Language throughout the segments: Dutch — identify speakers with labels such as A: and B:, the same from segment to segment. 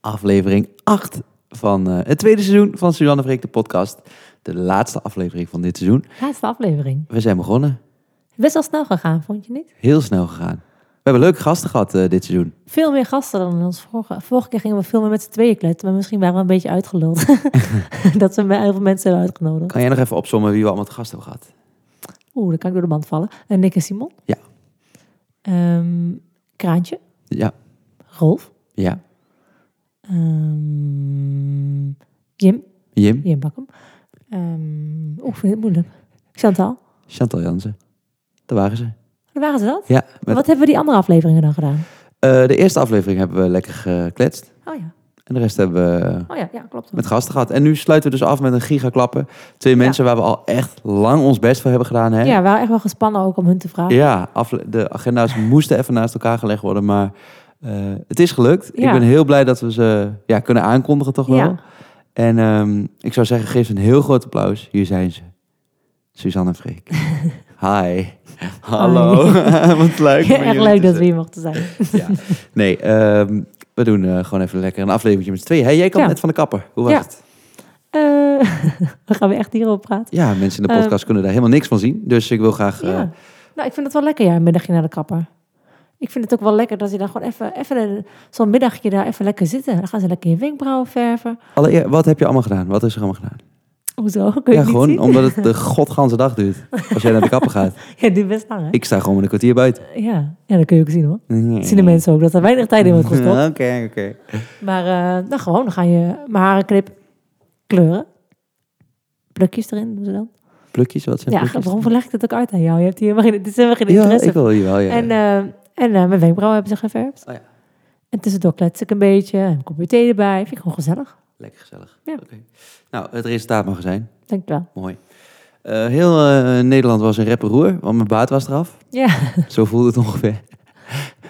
A: aflevering 8 van eh, het tweede seizoen van Suzanne Freek, de podcast. De laatste aflevering van dit seizoen.
B: Laatste aflevering.
A: We zijn begonnen.
B: Best wel snel gegaan, vond je niet?
A: Heel snel gegaan. We hebben leuke gasten gehad eh, dit seizoen.
B: Veel meer gasten dan in ons vorige... Vorige keer gingen we veel meer met z'n tweeën kletsen, maar misschien waren we een beetje uitgeluld. dat we me- heel veel mensen hebben uitgenodigd.
A: Kan jij nog even opzommen wie we allemaal te gast hebben gehad?
B: Oeh, dan kan ik door de band vallen. En Nick en Simon.
A: Ja.
B: Ehm, Kraantje.
A: Ja,
B: Rolf.
A: ja.
B: Ehm, Jim.
A: Jim,
B: Jim Bakkum. Ehm, Oeh, ik vind het moeilijk. Chantal.
A: Chantal Jansen. Daar waren ze.
B: Waar waren ze dat?
A: Ja, met-
B: Wat hebben we die andere afleveringen dan gedaan?
A: eh, de eerste aflevering hebben we lekker gekletst.
B: Oh ja,
A: En de rest hebben we
B: oh ja, ja klopt.
A: met gasten gehad. En nu sluiten we dus af met een gigaklappen. Twee mensen waar we al echt lang ons best voor hebben gedaan. Hè?
B: Ja, we waren echt wel gespannen ook om hun te vragen.
A: Ja, afle- de agenda's moesten even naast elkaar gelegd worden, maar eh, het is gelukt. Ik
B: Ja.
A: ben heel blij dat we ze ja, kunnen aankondigen toch wel.
B: Ja.
A: En ehm, ik zou zeggen, geef ze een heel groot applaus. Hier zijn ze. Suzanne en Freek. Hi. Hallo. Wat leuk. om
B: Ja,
A: hier
B: echt
A: te
B: leuk dat we
A: zijn.
B: hier mochten zijn.
A: Ja. Nee, ehm, we doen eh, gewoon even lekker een aflevertje met z'n tweeën. Hey, jij kwam
B: Ja.
A: net van de kapper. Hoe was
B: Ja.
A: het?
B: Eh, we gaan weer echt hierop praten.
A: Ja, mensen in de
B: Eh,
A: podcast kunnen daar helemaal niks van zien. Dus ik wil graag... eh,
B: Ja. Nou, ik vind het wel lekker, ja, een middagje naar de kapper. Ik vind het ook wel lekker dat je dan gewoon even, even een- zo'n middagje daar even lekker zitten. Dan gaan ze lekker je wenkbrauwen verven.
A: allereer- wat heb je allemaal gedaan? Wat is er allemaal gedaan?
B: Hoezo? Kun je
A: ja,
B: het niet
A: gewoon
B: zien?
A: omdat het de godganse dag duurt. Als jij naar de kapper gaat.
B: Ja, die best lang, hè?
A: Ik sta gewoon met een kwartier buiten.
B: Ja. ja, dat kun je ook zien, hoor. Dat zien de mensen ook, dat er weinig tijd in wordt gestopt.
A: Oké, oké.
B: Maar eh, nou, gewoon, dan ga je mijn haren knip kleuren. Plukjes erin doen ze dan.
A: Plukjes, wat zijn
B: Ja,
A: plukjes?
B: waarom leg ik dat ook uit aan jou? Je hebt hier helemaal geen, dit is helemaal geen
A: Ja,
B: interesse
A: ik wil hier wel, ja.
B: En, eh, en eh, mijn wenkbrauwen hebben ze geverfd.
A: Oh ja.
B: En tussendoor klets ik een beetje. Heb ik een kopje thee erbij. Vind ik gewoon gezellig.
A: Lekker gezellig.
B: Ja.
A: Oké. Nou, het resultaat mag er zijn.
B: Denk ik wel.
A: Mooi. Eh, heel eh, Nederland was een roer, want mijn baard was eraf.
B: Ja,
A: Zo voelde het ongeveer.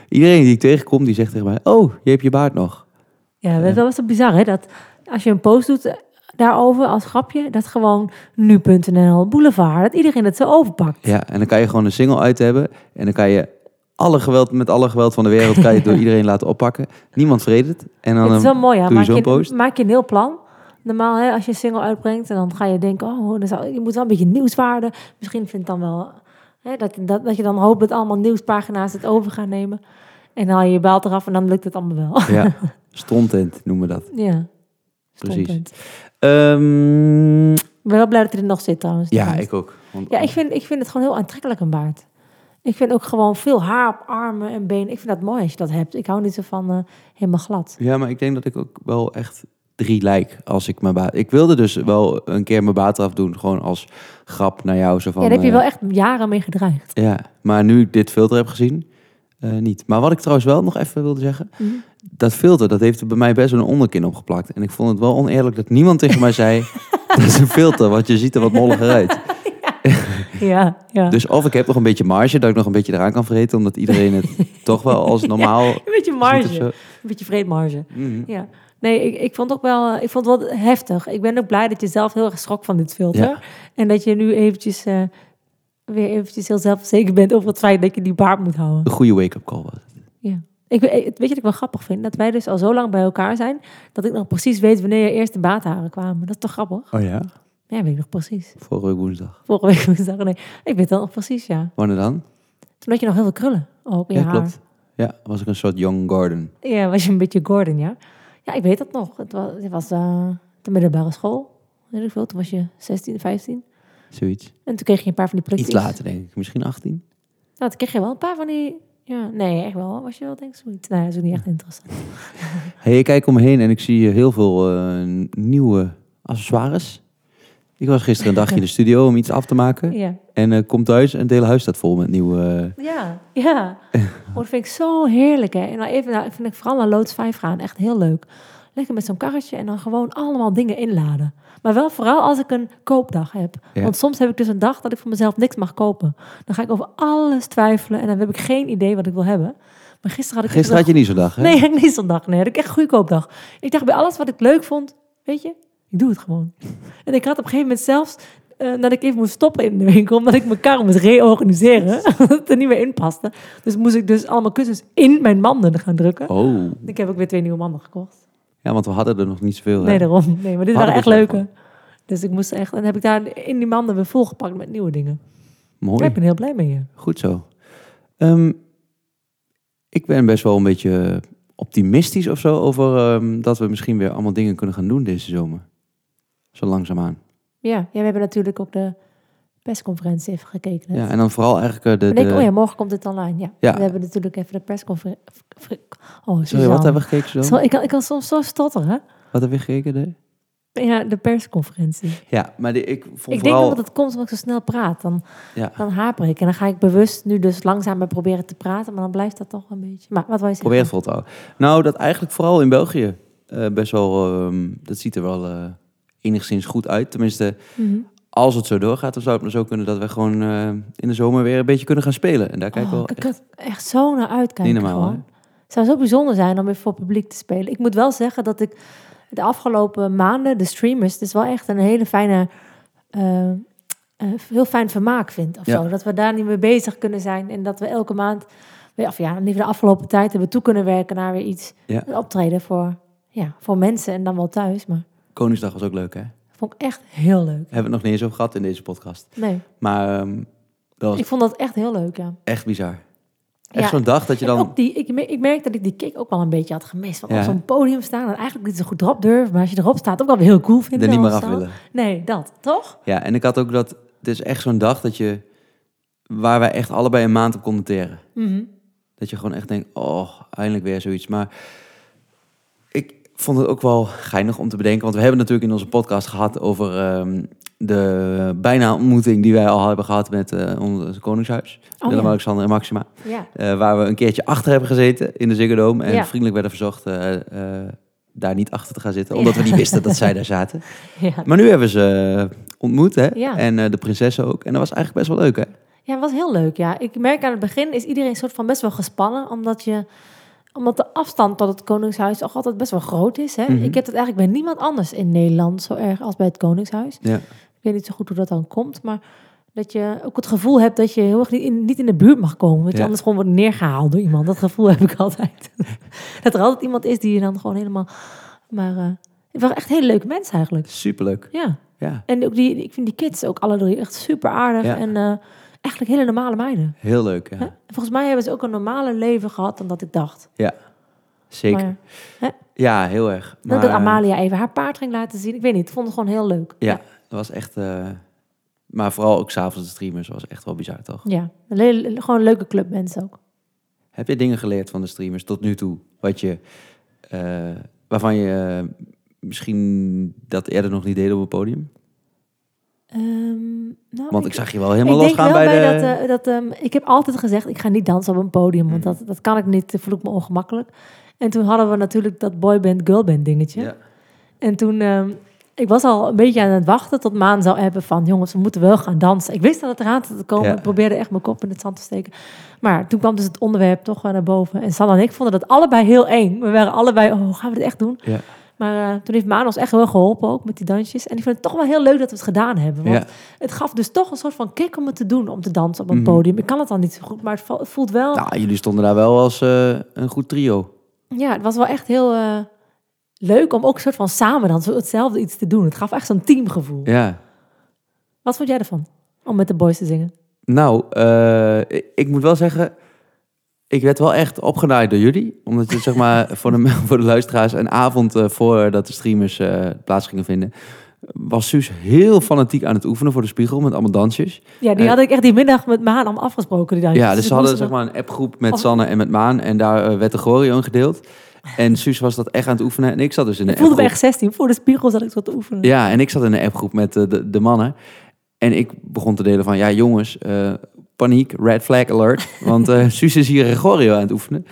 A: Iedereen die ik tegenkom, die zegt tegen mij... Oh, je hebt je baard nog.
B: ja dat was toch bizar, hè? Dat als je een post doet eh, daarover als grapje, dat gewoon nu.nl, boulevard, dat iedereen het zo overpakt.
A: Ja, en dan kan je gewoon een single uit hebben. En dan kan je alle geweld, met alle geweld van de wereld... kan je het door iedereen laten oppakken. Niemand vreet het. En dan
B: het is wel
A: eh,
B: mooi, hè?
A: doe je
B: Maak
A: zo'n post.
B: je, maak je een heel plan. Normaal, hè, als je een single uitbrengt en dan ga je denken, oh, dan zou- je moet wel een beetje nieuwswaarde. Misschien vindt dan wel, hè, dat, dat, dat je dan hoopt dat allemaal nieuwspagina's het over gaan nemen. En dan haal je je baal eraf en dan lukt het allemaal wel.
A: Ja, stontent noemen we dat.
B: Ja.
A: Precies.
B: Stompunt.
A: Ehm,
B: Ik ben wel blij dat hij er nog zit trouwens.
A: ja,
B: Trouwens.
A: ik ook. Want,
B: ja ik, vind, ik vind het gewoon heel aantrekkelijk een baard. Ik vind ook gewoon veel haar op armen en benen. Ik vind dat mooi als je dat hebt. Ik hou niet zo van eh, helemaal glad.
A: ja, maar ik denk dat ik ook wel echt drie lijk als ik mijn baat... Ik wilde dus wel een keer mijn baat afdoen, gewoon als grap naar jou. Zo van,
B: ja, daar heb je
A: eh,
B: wel echt jaren mee gedreigd.
A: ja, maar nu ik dit filter heb gezien, eh, niet. Maar wat ik trouwens wel nog even wilde zeggen...
B: Mhm.
A: Dat filter, dat heeft er bij mij best wel een onderkin opgeplakt. En ik vond het wel oneerlijk dat niemand tegen mij zei... dat is een filter, want je ziet er wat molliger uit.
B: Ja, ja.
A: Dus of ik heb nog een beetje marge, dat ik nog een beetje eraan kan vreten... omdat iedereen het toch wel als normaal...
B: een beetje
A: ziet of
B: marge.
A: zo.
B: Een beetje vreedmarge.
A: Mhm.
B: Ja. Nee, ik, ik vond ook wel, eh, ik vond het wel heftig. Ik ben ook blij dat je zelf heel erg schrok van dit filter.
A: Ja.
B: En dat je nu eventjes, eh, weer eventjes heel zelfverzekerd bent over het feit dat je die baard moet houden.
A: Een goede wake-up call was het.
B: Ja. Ik, we- weet je wat ik wel grappig vind? Dat wij dus al zo lang bij elkaar zijn, dat ik nog precies weet wanneer je eerst de baatharen kwamen. Dat is toch grappig?
A: Oh ja?
B: Ja, weet ik nog precies.
A: Vorige week woensdag.
B: Vorige week woensdag, nee. Ik weet dat nog precies, ja.
A: Wanneer dan?
B: Toen had je nog heel veel krullen ook in
A: Ja,
B: je haar.
A: klopt. Ja, was ik een soort young garden.
B: Ja, was je een beetje Gordon, ja. Ja, ik weet dat nog. Het was, het was eh, de middelbare school. Weet ik veel. Toen was je 16, 15.
A: Zoiets.
B: En toen kreeg je een paar van die plukjes.
A: Iets later denk ik. Misschien 18?
B: Nou, toen kreeg je wel een paar van die... Ja, nee, echt wel. Was je wel, denk ik, zoiets. Nou, dat is ook niet echt interessant.
A: Hey, ik kijk om me heen en ik zie eh, heel veel eh, nieuwe accessoires. Ik was gisteren een dagje in de studio om iets af te maken.
B: Ja.
A: En eh, kom thuis en het hele huis staat vol met nieuwe... eh,
B: Ja, ja. Oh, dat vind ik zo heerlijk, hè. En dan even, nou, ik vind ik vooral naar loods 5 gaan echt heel leuk. Lekker met zo'n karretje en dan gewoon allemaal dingen inladen. Maar wel vooral als ik een koopdag heb.
A: Ja.
B: Want soms heb ik dus een dag dat ik voor mezelf niks mag kopen. Dan ga ik over alles twijfelen en dan heb ik geen idee wat ik wil hebben. Maar gisteren had ik... dus
A: Gisteren had je niet zo'n dag, hè?
B: Nee, had ik niet zo'n dag. Nee, had ik echt een goede koopdag. Ik dacht bij alles wat ik leuk vond, weet je, ik doe het gewoon. En ik had op een gegeven moment zelfs eh, dat ik even moest stoppen in de winkel, omdat ik mijn kar moest reorganiseren, omdat het er niet meer in paste. Dus moest ik dus allemaal kussens in mijn manden gaan drukken.
A: Oh,
B: Ik heb ook weer twee nieuwe manden gekocht.
A: Ja, want we hadden er nog niet zoveel. hè?
B: Nee, daarom. Nee, maar dit
A: We hadden
B: waren echt
A: dus echt
B: leuke. Dus ik moest echt... En heb ik daar in die maanden weer volgepakt met nieuwe dingen.
A: Mooi.
B: Ik ben heel blij mee. ja.
A: Goed zo. Ehm, ik ben best wel een beetje optimistisch of zo over ehm, dat we misschien weer allemaal dingen kunnen gaan doen deze zomer. Zo langzaamaan.
B: Ja, ja, we hebben natuurlijk ook de persconferentie even gekeken. net.
A: Ja, en dan vooral eigenlijk eh, de...
B: Ik denk,
A: de-
B: oh ja, morgen komt het online. Ja.
A: Ja.
B: We hebben natuurlijk even de persconferentie. Oh,
A: Sorry, wat hebben we gekeken zo?
B: ik, kan, ik kan soms zo stotteren.
A: Wat hebben we gekeken? De...
B: Ja, de persconferentie.
A: Ja, maar die, ik vond
B: ik denk
A: vooral...
B: dat het komt omdat ik zo snel praat. Dan,
A: Ja,
B: dan haper ik. En dan ga ik bewust nu dus langzamer proberen te praten. Maar dan blijft dat toch een beetje. Maar wat wil je zeggen?
A: probeer het vol te houden. Nou, dat eigenlijk vooral in België eh, best wel... ehm, dat ziet er wel eh, enigszins goed uit. Tenminste,
B: Mhm.
A: als het zo doorgaat, dan zou het maar zo kunnen dat we gewoon eh, in de zomer weer een beetje kunnen gaan spelen. En daar kijk ik
B: Oh,
A: wel
B: ik
A: echt
B: kan er echt zo naar uitkijken.
A: Niet normaal,
B: gewoon. Het zou zo bijzonder zijn om weer voor publiek te spelen. Ik moet wel zeggen dat ik de afgelopen maanden, de streamers, het is wel echt een hele fijne, eh, eh, heel fijn vermaak vind. Of
A: Ja.
B: zo. Dat we daar niet mee bezig kunnen zijn en dat we elke maand, weer- of ja, liever de afgelopen tijd hebben toe kunnen werken naar weer iets.
A: Ja.
B: Een optreden voor, ja, voor mensen en dan wel thuis. Maar
A: Koningsdag was ook leuk, hè?
B: dat vond ik echt heel leuk.
A: Hebben we het nog niet eens over gehad in deze podcast.
B: Nee,
A: Maar ehm, dat was
B: ik vond dat echt heel leuk, ja.
A: echt bizar. Echt
B: Ja,
A: zo'n dag dat je
B: En
A: dan...
B: ook die, ik, me- ik merk dat ik die kick ook wel een beetje had gemist. Want
A: Ja.
B: op zo'n podium staan en eigenlijk niet zo goed erop durven. Maar als je erop staat, ook wel weer heel cool vinden.
A: er niet meer
B: als
A: af
B: dan.
A: willen.
B: Nee, dat. Toch?
A: Ja, en ik had ook dat... Het is echt zo'n dag dat je... Waar wij echt allebei een maand op commenteren.
B: Mhm.
A: Dat je gewoon echt denkt, oh, eindelijk weer zoiets. Maar ik vond het ook wel geinig om te bedenken. Want we hebben natuurlijk in onze podcast gehad over ehm, de bijna ontmoeting die wij al hebben gehad met eh ons koningshuis.
B: Oh, ja.
A: Willem-Alexander en Maxima.
B: Ja.
A: Eh, waar we een keertje achter hebben gezeten in de Ziggo Dome. En
B: Ja.
A: vriendelijk werden verzocht eh, eh, daar niet achter te gaan zitten. Omdat we niet wisten dat zij daar zaten.
B: Ja.
A: Maar nu hebben we ze eh, ontmoet, hè?
B: Ja.
A: En eh, de prinsessen ook. En dat was eigenlijk best wel leuk, hè?
B: ja, het was heel leuk. Ja. Ik merk aan het begin is iedereen soort van best wel gespannen. Omdat, je, omdat de afstand tot het Koningshuis toch altijd best wel groot is. Hè?
A: Mhm.
B: Ik heb dat eigenlijk bij niemand anders in Nederland zo erg als bij het Koningshuis.
A: Ja.
B: Ik weet niet zo goed hoe dat dan komt. Maar dat je ook het gevoel hebt dat je heel erg niet in, niet in de buurt mag komen. Dat je
A: Ja.
B: anders gewoon wordt neergehaald door iemand. Dat gevoel heb ik altijd. dat er altijd iemand is die je dan gewoon helemaal... Maar eh het waren echt hele leuke mensen eigenlijk.
A: Superleuk.
B: Ja.
A: Ja,
B: En ook die, ik vind die kids ook alle drie echt super aardig.
A: Ja.
B: En eh, eigenlijk hele normale meiden.
A: heel leuk,
B: Hè?
A: ja.
B: Volgens mij hebben ze ook een normale leven gehad dan dat ik dacht.
A: Zeker.
B: Maar
A: Ja, heel erg. eh,
B: nou, dat Amalia even haar paard ging laten zien. Ik weet niet, ik vond het gewoon heel leuk.
A: Ja, dat was echt... eh, maar vooral ook s'avonds de streamers was echt wel bizar, toch?
B: Ja, een hele- gewoon een leuke club mensen ook.
A: Heb je dingen geleerd van de streamers tot nu toe? Wat je, eh, waarvan je eh, misschien dat eerder nog niet deed op het podium?
B: Ehm, nou,
A: Want ik zag je wel helemaal
B: ik denk
A: losgaan
B: wel
A: bij,
B: bij,
A: de...
B: dat... eh, dat ehm, ik heb altijd gezegd, ik ga niet dansen op een podium. Want
A: Hmm.
B: dat, dat kan ik niet, dat voel ik me ongemakkelijk. En toen hadden we natuurlijk dat boyband, girlband dingetje.
A: ja.
B: En toen, ehm, ik was al een beetje aan het wachten tot Maan zou hebben van... jongens, we moeten wel gaan dansen. Ik wist dat het eraan zat te komen.
A: Ja.
B: Ik probeerde echt mijn kop in het zand te steken. Maar toen kwam dus het onderwerp toch wel naar boven. En Sanne en ik vonden dat allebei heel eng. We waren allebei, oh, gaan we dit echt doen?
A: Ja.
B: Maar eh, toen heeft Maan ons echt wel geholpen ook met die dansjes. En ik vind het toch wel heel leuk dat we het gedaan hebben. Want
A: Ja.
B: het gaf dus toch een soort van kick om het te doen, om te dansen op een
A: Mhm.
B: podium. Ik kan het dan niet zo goed, maar het vo- het voelt wel...
A: Nou, jullie stonden daar wel als eh, een goed trio.
B: Ja, het was wel echt heel eh, leuk om ook een soort van samen dan zo hetzelfde iets te doen. Het gaf echt zo'n teamgevoel.
A: Ja.
B: Wat vond jij ervan? Om met de boys te zingen.
A: Nou, eh, ik- ik moet wel zeggen, ik werd wel echt opgenaaid door jullie. Omdat het zeg maar voor de, voor de luisteraars een avond eh, voordat de streamers eh, plaats gingen vinden, was Suus heel fanatiek aan het oefenen voor de spiegel met allemaal dansjes.
B: Ja, die
A: Eh,
B: had ik echt die middag met Maan allemaal afgesproken. Die dansjes.
A: Ja, dus
B: ik
A: ze hadden
B: moest
A: zeg
B: wel-
A: maar een appgroep met
B: Of-
A: Sanne en met Maan. En daar eh, werd de choreo in gedeeld. En Suus was dat echt aan het oefenen. En ik zat dus in een
B: Ik voelde me
A: appgroep.
B: echt 16. Voor de spiegel zat ik zo te oefenen.
A: Ja, en ik zat in een appgroep met eh, de, de mannen. En ik begon te delen van, ja jongens, eh, paniek, red flag alert. Want eh Suus is hier een choreo aan het oefenen.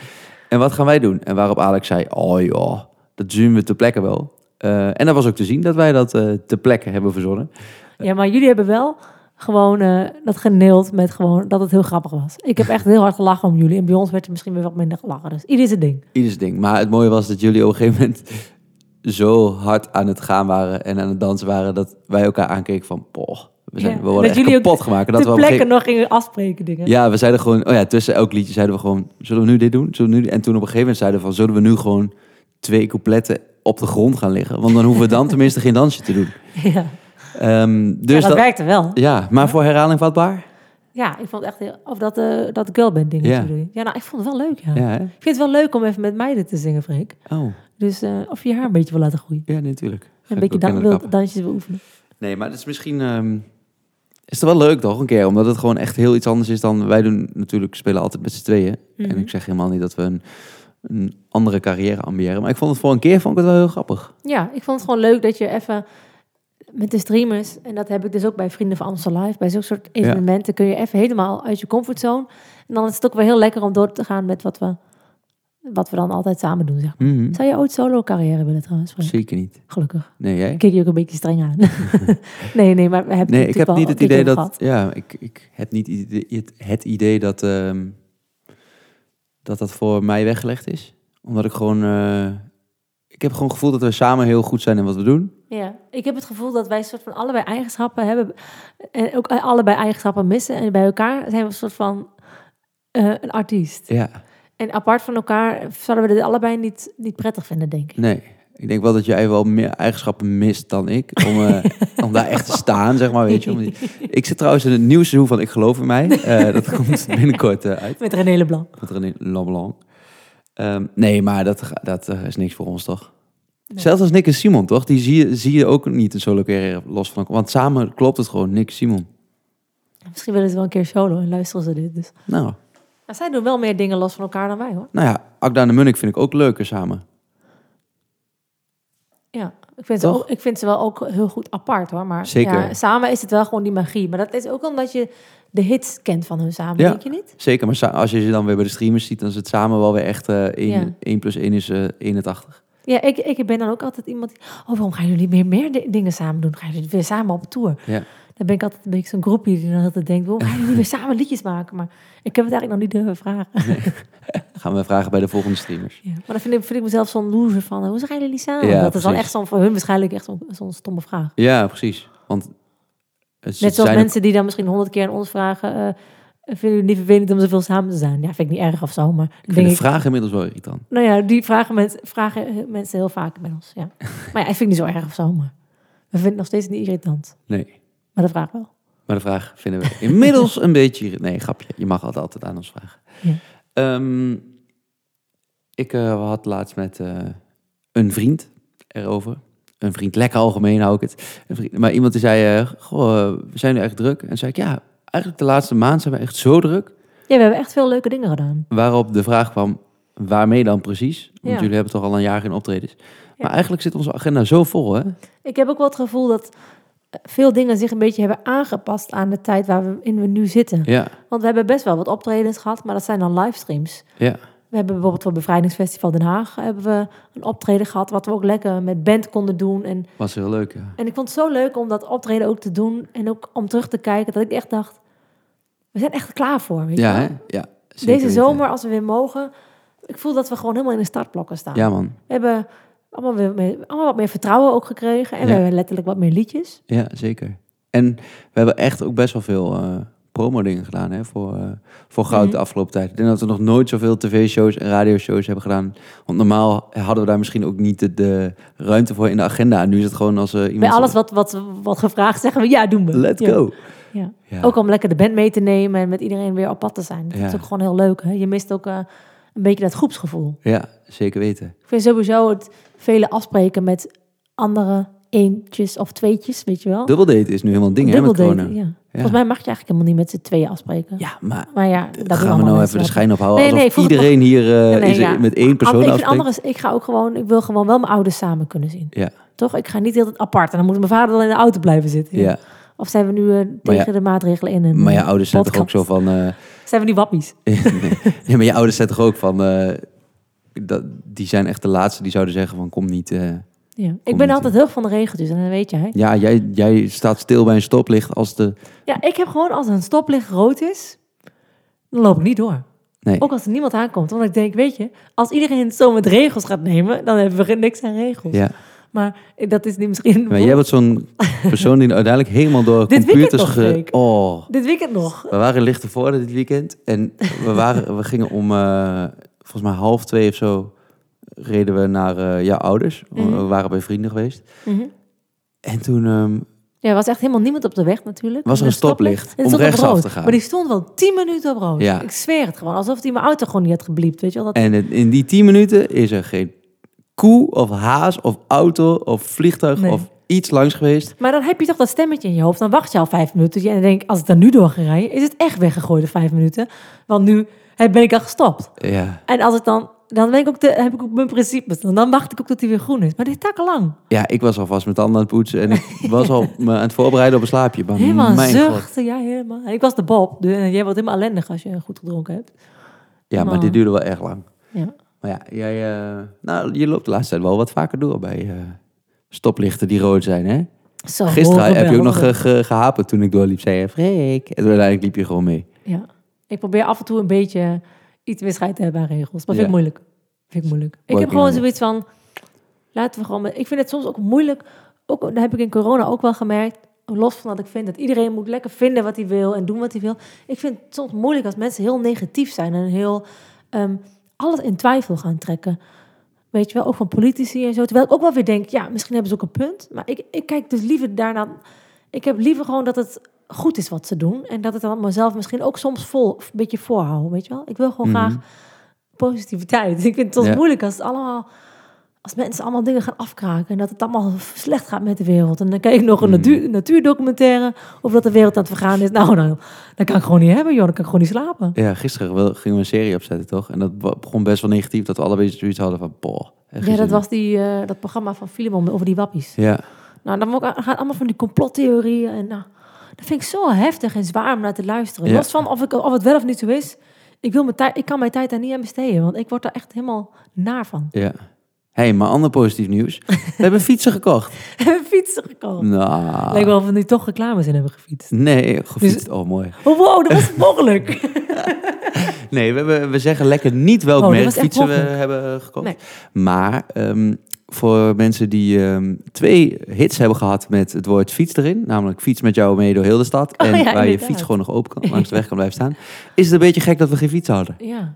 A: En wat gaan wij doen? En waarop Alex zei, oh ja, dat zien we ter plekke wel. Eh, en dat was ook te zien dat wij dat eh ter plekke hebben verzonnen.
B: Ja, maar jullie hebben wel gewoon eh, dat geneeld met gewoon dat het heel grappig was. Ik heb echt heel hard gelachen om jullie. En bij ons werd er misschien weer wat minder gelachen. Dus ieder zijn ding.
A: Ieders ding. Maar het mooie was dat jullie op een gegeven moment zo hard aan het gaan waren en aan het dansen waren dat wij elkaar aankeken van, poh, we, zijn,
B: Ja,
A: we worden
B: dat
A: echt
B: jullie ook
A: kapot gemaakt. En
B: Dat
A: dat we
B: Ter
A: op een
B: plekke
A: gegeven-
B: nog gingen afspreken dingen.
A: ja, we zeiden gewoon, oh ja, tussen elk liedje zeiden we gewoon, zullen we nu dit doen? Zullen we nu? dit?" En toen op een gegeven moment zeiden we van, zullen we nu gewoon twee coupletten op de grond gaan liggen. Want dan hoeven we dan tenminste geen dansje te doen.
B: ja.
A: Ehm,
B: Ja,
A: dus
B: dat,
A: dat,
B: werkte wel.
A: ja, maar voor herhaling vatbaar?
B: Ja, ik vond het echt heel... Of dat, eh dat girlband dingetje
A: Ja.
B: bedoel je. Ja, nou, ik vond het wel leuk, ja.
A: Ja, hè?
B: Ik vind het wel leuk om even met meiden te zingen, Freek.
A: Oh,
B: Dus eh, of je je haar een beetje wil laten groeien.
A: ja, natuurlijk.
B: En een beetje dan, wil, dansjes wil oefenen.
A: Nee, maar het is misschien... ehm, is het wel leuk toch, een keer? Omdat het gewoon echt heel iets anders is dan... Wij doen natuurlijk, spelen altijd met z'n tweeën.
B: Mhm.
A: En ik zeg helemaal niet dat we een, een andere carrière ambiëren. Maar ik vond het voor een keer vond ik het wel heel grappig.
B: Ja, ik vond het gewoon leuk dat je even met de streamers, en dat heb ik dus ook bij Vrienden van Amstel Live, bij zulke soort evenementen kun je even helemaal uit je comfortzone. En dan is het ook wel heel lekker om door te gaan met wat we, wat we dan altijd samen doen. Zeg. maar.
A: Mhm.
B: Zou je ooit solo carrière willen trouwens? Frank?
A: Zeker niet.
B: Gelukkig.
A: Nee, jij?
B: Ik keek je ook een beetje streng aan. nee, nee, maar we hebben
A: Nee,
B: het
A: ik heb
B: natuurlijk
A: niet
B: al
A: het
B: een keer
A: idee
B: over
A: dat.
B: gehad.
A: Ja, ik, ik heb niet idee- het, het idee dat, ehm, dat dat voor mij weggelegd is. Omdat ik gewoon. eh, ik heb gewoon het gevoel dat we samen heel goed zijn in wat we doen.
B: Ja, ik heb het gevoel dat wij een soort van allebei eigenschappen hebben. En ook allebei eigenschappen missen. En bij elkaar zijn we een soort van eh, een artiest.
A: Ja,
B: En apart van elkaar zouden we dit allebei niet, niet prettig vinden, denk ik.
A: nee. Ik denk wel dat jij wel meer eigenschappen mist dan ik. Om, eh, om daar echt te staan, zeg maar. Weet je. Om die- Ik zit trouwens in het nieuwe seizoen van Ik Geloof in Mij. Eh, dat komt binnenkort eh, uit.
B: Met René Leblanc.
A: Met René Leblanc. Ehm, nee, maar dat, ga- dat eh, is niks voor ons, toch? Zelfs als Nick en Simon, toch? Die zie je, zie je ook niet een solo carrière los van elkaar. Want samen klopt het gewoon, Nick, Simon.
B: Misschien willen ze wel een keer solo en luisteren ze dit. Dus.
A: Nou,
B: Nou, zij doen wel meer dingen los van elkaar dan wij, hoor.
A: nou ja, Akda en de Munnik vind ik ook leuker samen.
B: Ja, ik vind, ze
A: Toch?
B: ook, ik vind ze wel ook heel goed apart, hoor. Maar
A: Zeker.
B: Ja, samen is het wel gewoon die magie. Maar dat is ook omdat je de hits kent van hun samen,
A: Ja.
B: denk je niet?
A: Zeker, maar sa- als je ze dan weer bij de streamers ziet, dan is het samen wel weer echt eh 1,
B: Ja.
A: plus 1 is eh 81.
B: Ja, ik, ik ben dan ook altijd iemand die... Oh, waarom gaan jullie meer, meer di- dingen samen doen? Gaan jullie weer samen op tour?
A: Ja.
B: Dan ben ik altijd een beetje zo'n groepie die dan altijd denkt... Waarom gaan jullie weer samen liedjes maken? Maar ik heb het eigenlijk nog niet durven vragen.
A: Gaan we vragen bij de volgende streamers.
B: Ja, maar dan vind ik, vind ik mezelf zo'n loser van, hoe zijn jullie samen?
A: Ja,
B: dat is dan
A: precies.
B: echt zo'n, voor hun waarschijnlijk echt zo'n, zo'n stomme vraag.
A: Ja, precies. Want het
B: Net zoals
A: zijn ook-
B: mensen die dan misschien honderd keer aan ons vragen, eh, vinden jullie het niet vervelend om zoveel samen te zijn? Ja, vind ik niet erg of zo, maar
A: ik
B: denk
A: vind
B: ik,
A: de vraag inmiddels wel irritant.
B: nou ja, die vragen, mensen vragen eh, mensen heel vaak bij ons, ja. maar ja, ik vind het niet zo erg of zo, maar we vinden het nog steeds niet irritant.
A: Nee.
B: Maar de vraag wel.
A: Maar de vraag vinden we inmiddels een beetje... Nee, grapje. Je mag altijd, altijd aan ons vragen.
B: Ja.
A: Ehm, ik eh, had laatst met eh, een vriend erover. Een vriend, lekker algemeen hou ik het. Een vriend, maar iemand die zei, eh, goh, eh, we zijn nu echt druk. En toen zei ik, ja, eigenlijk de laatste maand zijn we echt zo druk.
B: Ja, we hebben echt veel leuke dingen gedaan.
A: Waarop de vraag kwam, waarmee dan precies? Want
B: Ja.
A: jullie hebben toch al een jaar geen optredens. Maar eigenlijk zit onze agenda zo vol, hè?
B: Ik heb ook wel het gevoel dat eh, veel dingen zich een beetje hebben aangepast aan de tijd waarin we nu zitten.
A: Ja,
B: Want we hebben best wel wat optredens gehad, maar dat zijn dan livestreams.
A: ja.
B: We hebben bijvoorbeeld voor Bevrijdingsfestival Den Haag hebben we een optreden gehad, wat we ook lekker met band konden doen. En,
A: Was heel leuk, ja.
B: en ik vond het zo leuk om dat optreden ook te doen en ook om terug te kijken, dat ik echt dacht, we zijn echt klaar voor. Weet je
A: Ja,
B: wel?
A: hè? Ja, zeker
B: Deze
A: weten.
B: zomer, als we weer mogen, ik voel dat we gewoon helemaal in de startblokken staan.
A: Ja, man.
B: We hebben allemaal, weer meer, allemaal wat meer vertrouwen ook gekregen en we
A: Ja.
B: hebben letterlijk wat meer liedjes.
A: Ja, zeker. En we hebben echt ook best wel veel eh promo-dingen gedaan hè, voor, eh, voor Goud
B: Mhm.
A: de afgelopen tijd. Ik denk dat we nog nooit zoveel tv-shows en radioshows hebben gedaan. Want normaal hadden we daar misschien ook niet de, de ruimte voor in de agenda. En nu is het gewoon als eh, iemand...
B: Bij alles wat, wat, wat gevraagd zeggen we, ja, doen we.
A: Let
B: Ja.
A: go.
B: Ja.
A: Ja.
B: Ook om lekker de band mee te nemen en met iedereen weer op pad te zijn. Dat
A: Ja.
B: is ook gewoon heel leuk. Hè? Je mist ook eh, een beetje dat groepsgevoel.
A: ja, zeker weten.
B: Ik vind sowieso het vele afspreken met andere eentjes of tweetjes, weet je wel.
A: Dubbeldate is nu helemaal een ding hè, met
B: Dubbeldaten,
A: corona.
B: ja. Volgens mij mag je eigenlijk helemaal niet met z'n tweeën afspreken.
A: Ja, maar
B: Maar ja, dat doen
A: gaan we
B: allemaal
A: nou
B: mensen
A: even de
B: wel.
A: schijn ophouden.
B: Nee, nee,
A: alsof
B: volgens-
A: iedereen hier eh,
B: Nee, nee,
A: is,
B: ja.
A: met één persoon
B: ik, vind
A: afspreekt.
B: anders, ik ga ook gewoon, ik wil gewoon wel mijn ouders samen kunnen zien.
A: Ja,
B: Toch? Ik ga niet heel apart. En dan moet mijn vader dan in de auto blijven zitten.
A: ja.
B: Of zijn we nu eh, tegen
A: ja-
B: de maatregelen in? En,
A: Maar je ouders zijn toch ook
B: podcast?
A: zo van... eh,
B: Zijn we nu wappies?
A: nee. Nee, maar je ouders zijn toch ook van... eh, dat, die zijn echt de laatste die zouden zeggen van kom niet... eh,
B: Ja. Ik
A: Kom
B: ben
A: niet
B: altijd heel erg van de regeltjes en dat weet jij.
A: ja, jij, jij staat stil bij een stoplicht als de...
B: Ja, ik heb gewoon als een stoplicht rood is, dan loop ik niet door.
A: Nee,
B: Ook als er niemand aankomt. Want ik denk, weet je, als iedereen het zo met regels gaat nemen, dan hebben we geen- niks aan regels.
A: ja.
B: Maar dat is niet misschien.
A: Maar jij bent zo'n persoon die uiteindelijk helemaal door
B: Dit
A: computers...
B: weekend nog, Freek.
A: Oh,
B: Dit weekend nog.
A: we waren licht voor dit weekend. En we, waren, we gingen om, eh, volgens mij half twee of zo... eh, reden we naar eh, jouw ouders. We-
B: Mhm.
A: We waren bij vrienden geweest.
B: Mhm.
A: En toen ehm,
B: Ja, er was echt helemaal niemand op de weg natuurlijk.
A: was er een stoplicht
B: En
A: om
B: het stond op
A: rechtsaf
B: rood.
A: te gaan.
B: Maar die stond wel 10 minuten op rood.
A: Ja.
B: Ik zweer het gewoon. Alsof die mijn auto gewoon niet had gebliept. Weet je wel? Dat...
A: En het- in die 10 minuten is er geen koe of haas of auto of vliegtuig
B: Nee.
A: of iets langs geweest.
B: Maar dan heb je toch dat stemmetje in je hoofd. Dan wacht je al vijf minuten. En dan denk ik, als ik daar nu door ga rijden, is het echt weggegooid de vijf minuten. Want nu hè, ben ik al gestopt.
A: Ja,
B: En als ik dan, dan ben ik ook de, heb ik ook mijn principes. Dan, dan wacht ik ook tot hij weer groen is. Maar dit is lang.
A: ja ik was alvast mijn tanden aan het poetsen en ik was al me aan het voorbereiden op een slaapje. Maar
B: Helemaal een
A: mijn god.
B: zuchten. Ja, helemaal. Ik was de Bob. Dus, eh, jij wordt helemaal ellendig als je goed gedronken hebt.
A: Ja, maar
B: Man.
A: dit duurde wel erg lang.
B: Ja.
A: Maar ja, jij, eh, nou, je loopt de laatste tijd wel wat vaker door bij eh, stoplichten die rood zijn,
B: Oh,
A: hè?
B: Zo,
A: Gisteren
B: horen
A: heb je
B: we,
A: ook nog
B: horen
A: eh, ge- gehaperd toen ik doorliep. Zei je, Freek. En toen uiteindelijk liep je gewoon mee.
B: we. Ja. Ik probeer af en toe een beetje iets meer scheid te hebben aan regels. Maar vind
A: Ja.
B: ik moeilijk. Vind ik moeilijk. Ik
A: Working
B: heb gewoon
A: on it.
B: zoiets van, laten we gewoon... met- Ik vind het soms ook moeilijk. Ook, dat heb ik in corona ook wel gemerkt. Los van dat ik vind dat iedereen moet lekker vinden wat hij wil en doen wat hij wil. Ik vind het soms moeilijk als mensen heel negatief zijn en heel ehm, alles in twijfel gaan trekken. Weet je wel, ook van politici en zo. Terwijl ik ook wel weer denk, ja, misschien hebben ze ook een punt. Maar ik, ik kijk dus liever daarna. Ik heb liever gewoon dat het goed is wat ze doen. En dat het dan mezelf misschien ook soms vol, een beetje voorhouden. Weet je wel, ik wil gewoon
A: Mhm.
B: graag positiviteit. Ik vind het soms
A: Ja.
B: moeilijk als het allemaal. Als mensen allemaal dingen gaan afkraken en dat het allemaal slecht gaat met de wereld. En dan kijk ik nog een
A: Mhm.
B: natuur, natuurdocumentaire of dat de wereld aan het vergaan is. Nou, dan, dan kan ik gewoon niet hebben, joh. Dan kan ik gewoon niet slapen.
A: Ja, gisteren wel- gingen we een serie opzetten, toch? En dat be- begon best wel negatief, dat we allebei zoiets hadden van... Boh, echt
B: Ja,
A: geen
B: dat
A: zin
B: was die, eh, dat programma van Filemon over die wappies.
A: in. Ja,
B: Nou, dan ook- gaan allemaal van die complottheorieën. En, nou, dat vind ik zo heftig en zwaar om naar te luisteren.
A: Ja.
B: Los van of, ik, of het wel of niet zo is. Ik, wil mijn tijd, ik kan mijn tijd daar niet aan besteden, want ik word daar echt helemaal naar van.
A: ja. Hé, hey, maar ander positief nieuws. We hebben fietsen gekocht.
B: We hebben fietsen gekomen.
A: Nou,
B: Lijkt wel of we nu toch reclames in hebben gefietst.
A: nee, gefietst. Oh, mooi.
B: Oh, wow, dat was mogelijk.
A: Nee, we, hebben- we zeggen lekker niet welk
B: Oh, dat
A: merk
B: was echt
A: fietsen we
B: mogelijk.
A: hebben eh, gekocht.
B: Nee.
A: Maar ehm, voor mensen die ehm, twee hits hebben gehad met het woord fiets erin... namelijk fiets met jou mee door heel de stad... en
B: Oh, ja,
A: waar je
B: inderdaad.
A: fiets gewoon nog open kan, langs de weg kan blijven staan... is het een beetje gek dat we geen fiets hadden.
B: Ja.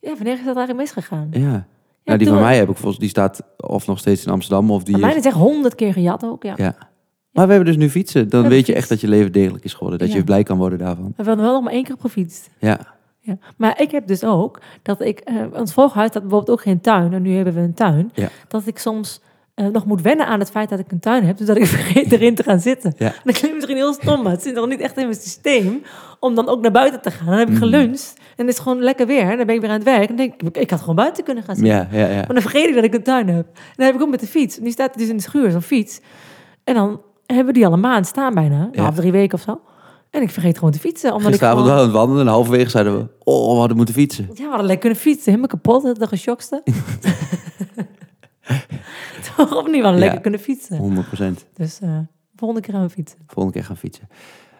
B: Ja, wanneer is dat eigenlijk misgegaan?
A: Ja. nou, die
B: toen
A: van
B: we-
A: mij heb ik volgens die staat of nog steeds in Amsterdam of die.
B: Aan
A: is-
B: mij is echt honderd keer gejat ook, ja.
A: Ja. Maar we hebben dus nu fietsen. Dan
B: We
A: weet je
B: hebben
A: echt dat je leven degelijk is geworden. Dat
B: Ja.
A: je blij kan worden daarvan.
B: We hebben wel nog maar één keer op gefietst.
A: Ja.
B: Ja. Maar ik heb dus ook dat ik, eh ons vorige huis had bijvoorbeeld ook geen tuin en nu hebben we een tuin.
A: Ja.
B: Dat ik soms eh, nog moet wennen aan het feit dat ik een tuin heb, dus dat ik vergeet erin te gaan zitten.
A: Ja.
B: Dat klinkt misschien heel stom, maar het zit nog niet echt in mijn systeem om dan ook naar buiten te gaan. Dan
A: Mm.
B: heb ik geluncht en het is gewoon lekker weer en dan ben ik weer aan het werk en dan denk ik, ik had gewoon buiten kunnen gaan zitten.
A: Ja, ja, ja.
B: Maar dan vergeet ik dat ik een tuin heb. En dan heb ik ook met de fiets. En die staat dus in de schuur, zo'n fiets. En dan hebben we die al een maand staan bijna. Nou,
A: Ja.
B: of drie weken of zo. En ik vergeet gewoon te fietsen. Omdat
A: Gisteravond
B: ik
A: waren we aan het wandelen en halverwege zeiden we... Oh, we hadden moeten fietsten.
B: gewoon, Ja, we hadden lekker kunnen fietsen. Helemaal kapot, de geschoktste. Toch opnieuw, we hadden
A: Ja.
B: lekker kunnen fietsen.
A: 100 procent.
B: Dus eh volgende keer gaan we fietsen.
A: Volgende keer gaan fietsen.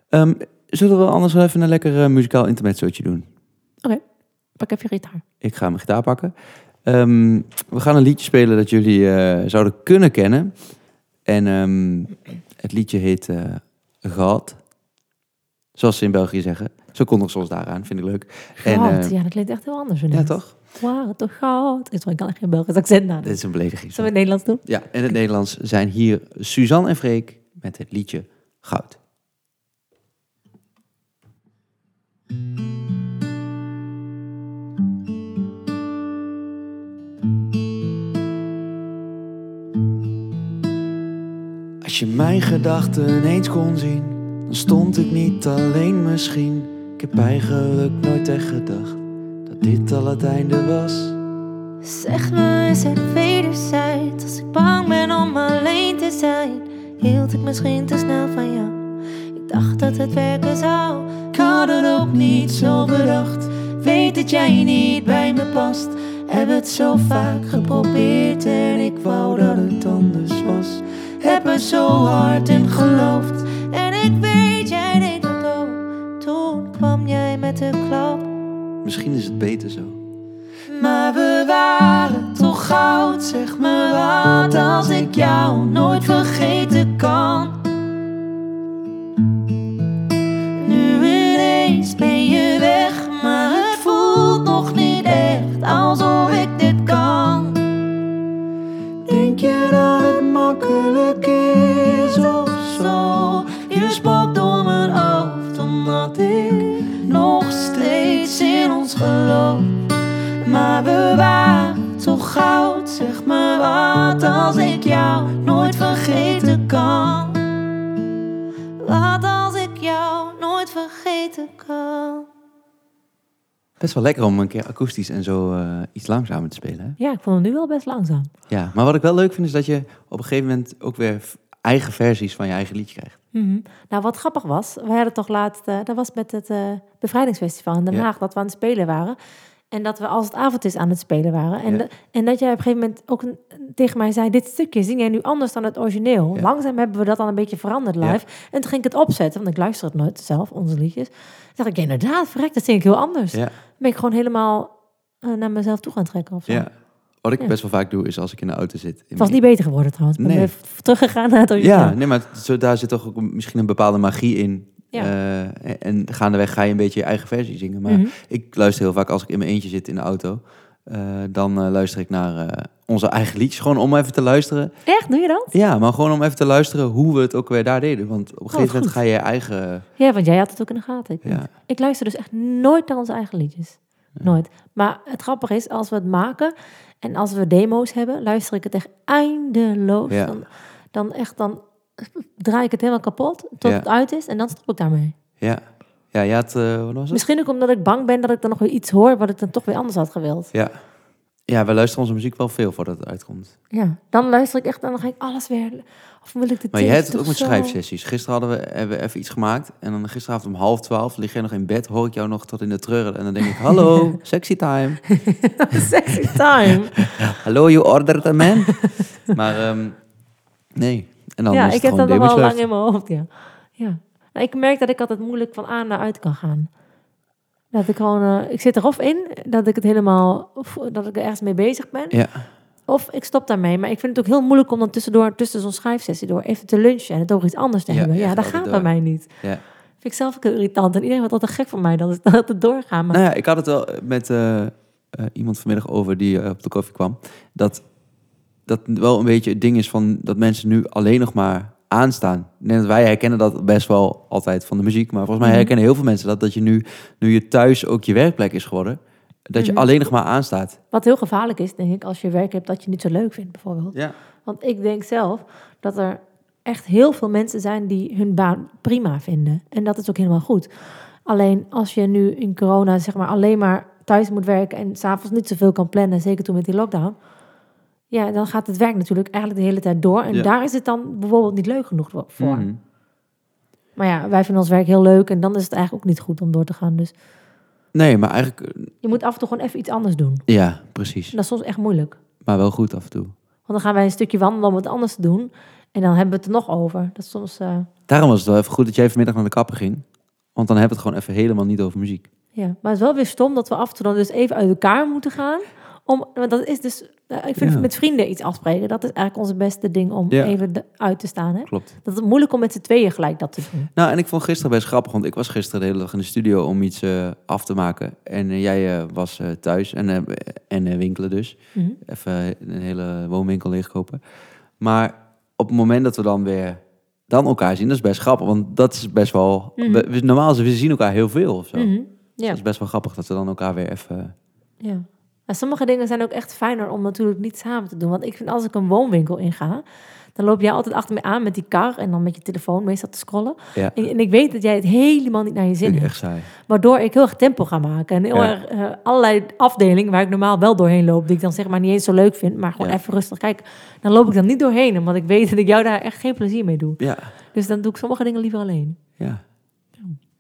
A: Ehm, zullen we anders wel even een lekker eh, muzikaal intermezzootje doen?
B: Pak even je gitaar.
A: Ik ga mijn gitaar pakken. Ehm, we gaan een liedje spelen dat jullie eh, zouden kunnen kennen. En ehm, het liedje heet eh God. Zoals ze in België zeggen. Zo kondigen ze ons daaraan, vind ik leuk. En,
B: Goud.
A: eh,
B: ja, dat klinkt echt heel anders.
A: ja, toch? Dus-
B: Waar toch goud. Ik kan echt geen Belgisch accent nadoen.
A: Dit is een belediging.
B: Zullen we het Nederlands doen?
A: Ja, in het Nederlands zijn hier Suzanne en Freek met het liedje Goud. Als je mijn gedachten eens kon zien, dan stond ik niet alleen misschien. Ik heb eigenlijk nooit echt gedacht dat dit al het einde was.
C: Zeg me, is het wederzijds? Als ik bang ben om alleen te zijn, hield ik misschien te snel van jou. Ik dacht dat het werken zou, ik had het ook niet zo bedacht. Weet dat jij niet bij me past, heb het zo vaak geprobeerd en ik wou dat het anders was. Heb er zo hard in geloofd en ik weet, jij deed het ook. Toen kwam jij met de klap.
A: Misschien is het beter zo.
C: Maar we waren toch goud, zeg me wat als ik jou nooit vergeten kan. Nu ineens ben je weg, maar het voelt nog niet echt alsof ik dit kan. makkelijk is of zo. Je spat door mijn hoofd omdat ik nog steeds in ons geloof. Maar bewaar toch goud, zeg maar wat als ik jou nooit vergeten kan. Wat als ik jou nooit vergeten kan.
A: Best wel lekker om een keer akoestisch en zo eh, iets langzamer te spelen. Hè?
B: Ja, ik vond hem nu wel best langzaam.
A: Ja, maar wat ik wel leuk vind is dat je op een gegeven moment ook weer v- eigen versies van je eigen liedje krijgt.
B: Mhm. Nou, wat grappig was, we hadden toch laatst, eh, dat was met het eh, bevrijdingsfestival in Den
A: Ja.
B: Haag, dat we aan het spelen waren. En dat we als het avond is aan het spelen waren. En,
A: Ja.
B: de- en dat jij op een gegeven moment ook een- tegen mij zei, dit stukje zing jij nu anders dan het origineel.
A: Ja.
B: Langzaam hebben we dat dan een beetje veranderd live.
A: Ja.
B: En toen ging ik het opzetten, want ik luister het nooit zelf, onze liedjes. Toen dacht ik, ja, inderdaad, verrek, dat zing ik heel anders.
A: Ja,
B: ben ik gewoon helemaal eh, naar mezelf toe gaan trekken of zo.
A: ja. Wat ik
B: Ja.
A: best wel vaak doe is als ik in de auto zit.
B: Het was niet beter geworden trouwens. Ik ben
A: Nee.
B: weer v- teruggegaan naar het origineel.
A: Ja, nee, maar het- zo, daar zit toch ook een- misschien een bepaalde magie in.
B: Ja.
A: Eh, en, en gaandeweg ga je een beetje je eigen versie zingen. Maar
B: Mhm.
A: ik luister heel vaak als ik in mijn eentje zit in de auto. eh, dan eh, luister ik naar eh, onze eigen liedjes. Gewoon om even te luisteren.
B: Echt, doe je dat?
A: Ja, maar gewoon om even te luisteren hoe we het ook weer daar deden. Want op een gegeven moment
B: Oh, goed.
A: ga je je eigen...
B: Ja, want jij had het ook in de gaten. Ik,
A: Ja.
B: ik luister dus echt nooit naar onze eigen liedjes. Nooit. Maar het grappige is, als we het maken en als we demo's hebben, luister ik het echt eindeloos.
A: Ja.
B: Dan, dan echt, dan draai ik het helemaal kapot tot
A: Ja.
B: het uit is en dan stop ik daarmee.
A: Ja, ja, ja het, eh, wat was het?
B: Misschien ook omdat ik bang ben dat ik dan nog weer iets hoor wat ik dan toch weer anders had gewild.
A: Ja. ja, we luisteren onze muziek wel veel voordat het uitkomt.
B: Ja, dan luister ik echt en dan ga ik alles weer... Of wil ik de
A: Maar jij hebt
B: tekst
A: het ook
B: of
A: met
B: zo?
A: schrijfsessies. Gisteren hadden we, hebben we even iets gemaakt. En dan gisteravond om half twaalf lig jij nog in bed, hoor ik jou nog tot in de treuren. En dan denk ik, hallo, sexy time.
B: Sexy time.
A: Hallo, you ordered a man. maar ehm, nee, en dan
B: ja,
A: is het
B: ik heb
A: gewoon
B: dat nog
A: demo's
B: wel
A: luisteren.
B: lang in mijn hoofd, ja. ja. Nou, ik merk dat ik altijd moeilijk van aan naar uit kan gaan. Dat ik gewoon, eh, ik zit er of in, dat ik het helemaal, of dat ik er ergens mee bezig ben.
A: Ja,
B: Of ik stop daarmee. Maar ik vind het ook heel moeilijk om dan tussendoor, tussen zo'n schrijfsessie door, even te lunchen en het over iets anders te
A: Ja,
B: hebben. Ja,
A: echt
B: dat
A: altijd
B: gaat bij
A: door.
B: mij niet.
A: ja.
B: Vind ik zelf ook heel irritant. En iedereen wordt altijd gek van mij, dat is dat het doorgaan. Maar
A: Nou ja, ik had het wel met eh, eh, iemand vanmiddag over die eh, op de koffie kwam. Dat dat wel een beetje het ding is van dat mensen nu alleen nog maar aanstaan. Ik denk dat wij herkennen dat best wel altijd van de muziek. Maar volgens mij
B: Mhm.
A: herkennen heel veel mensen dat. Dat je nu, nu je thuis ook je werkplek is geworden. Dat je
B: Mhm.
A: alleen nog maar aanstaat.
B: wat heel gevaarlijk is, denk ik, als je werk hebt dat je niet zo leuk vindt, bijvoorbeeld.
A: Ja.
B: Want ik denk zelf dat er echt heel veel mensen zijn die hun baan prima vinden. En dat is ook helemaal goed. Alleen als je nu in corona zeg maar alleen maar thuis moet werken en s'avonds niet zoveel kan plannen, zeker toen met die lockdown. Ja, dan gaat het werk natuurlijk eigenlijk de hele tijd door. En
A: Ja.
B: daar is het dan bijvoorbeeld niet leuk genoeg voor.
A: Mhm.
B: Maar ja, wij vinden ons werk heel leuk en dan is het eigenlijk ook niet goed om door te gaan. Dus
A: Nee, maar eigenlijk... eh,
B: je moet af en toe gewoon even iets anders doen.
A: Ja, precies.
B: En dat is soms echt moeilijk.
A: Maar wel goed af en toe.
B: Want dan gaan wij een stukje wandelen om wat anders te doen. En dan hebben we het er nog over. Dat is soms, eh,
A: Daarom was het wel even goed dat jij vanmiddag naar de kapper ging. Want dan hebben we het gewoon even helemaal niet over muziek.
B: ja. Maar het is wel weer stom dat we af en toe dan dus even uit elkaar moeten gaan. Om, want dat is dus, nou, ik vind
A: Ja.
B: met vrienden iets afspreken, dat is eigenlijk ons beste ding om
A: Ja.
B: even de- uit te staan. Hè?
A: Klopt.
B: Dat is moeilijk om met z'n tweeën gelijk dat te doen.
A: Nou, en ik vond gisteren best grappig, want ik was gisteren de hele dag in de studio om iets eh, af te maken. En eh, jij eh, was eh, thuis en, eh, en eh, winkelen dus.
B: Mhm.
A: Even een hele woonwinkel leegkopen. Maar op het moment dat we dan weer dan elkaar zien, dat is best grappig. Want dat is best wel...
B: Mhm.
A: we- we- normaal is het, we zien elkaar heel veel of zo.
B: Mhm.
A: Dat
B: Ja.
A: is best wel grappig dat we dan elkaar weer even...
B: ja. Maar sommige dingen zijn ook echt fijner om natuurlijk niet samen te doen. Want ik vind als ik een woonwinkel inga, dan loop jij altijd achter me aan met die kar en dan met je telefoon meestal te scrollen.
A: Ja,
B: En, en ik weet dat jij het helemaal niet naar je zin
A: vind ik
B: hebt.
A: echt saai.
B: Waardoor ik heel erg tempo ga maken. En heel
A: Ja.
B: erg eh, allerlei afdelingen waar ik normaal wel doorheen loop. Die ik dan zeg maar niet eens zo leuk vind. Maar gewoon
A: Ja.
B: even rustig kijken. Dan loop ik dan niet doorheen. Omdat ik weet dat ik jou daar echt geen plezier mee doe.
A: Ja,
B: Dus dan doe ik sommige dingen liever alleen.
A: ja.
B: Oh.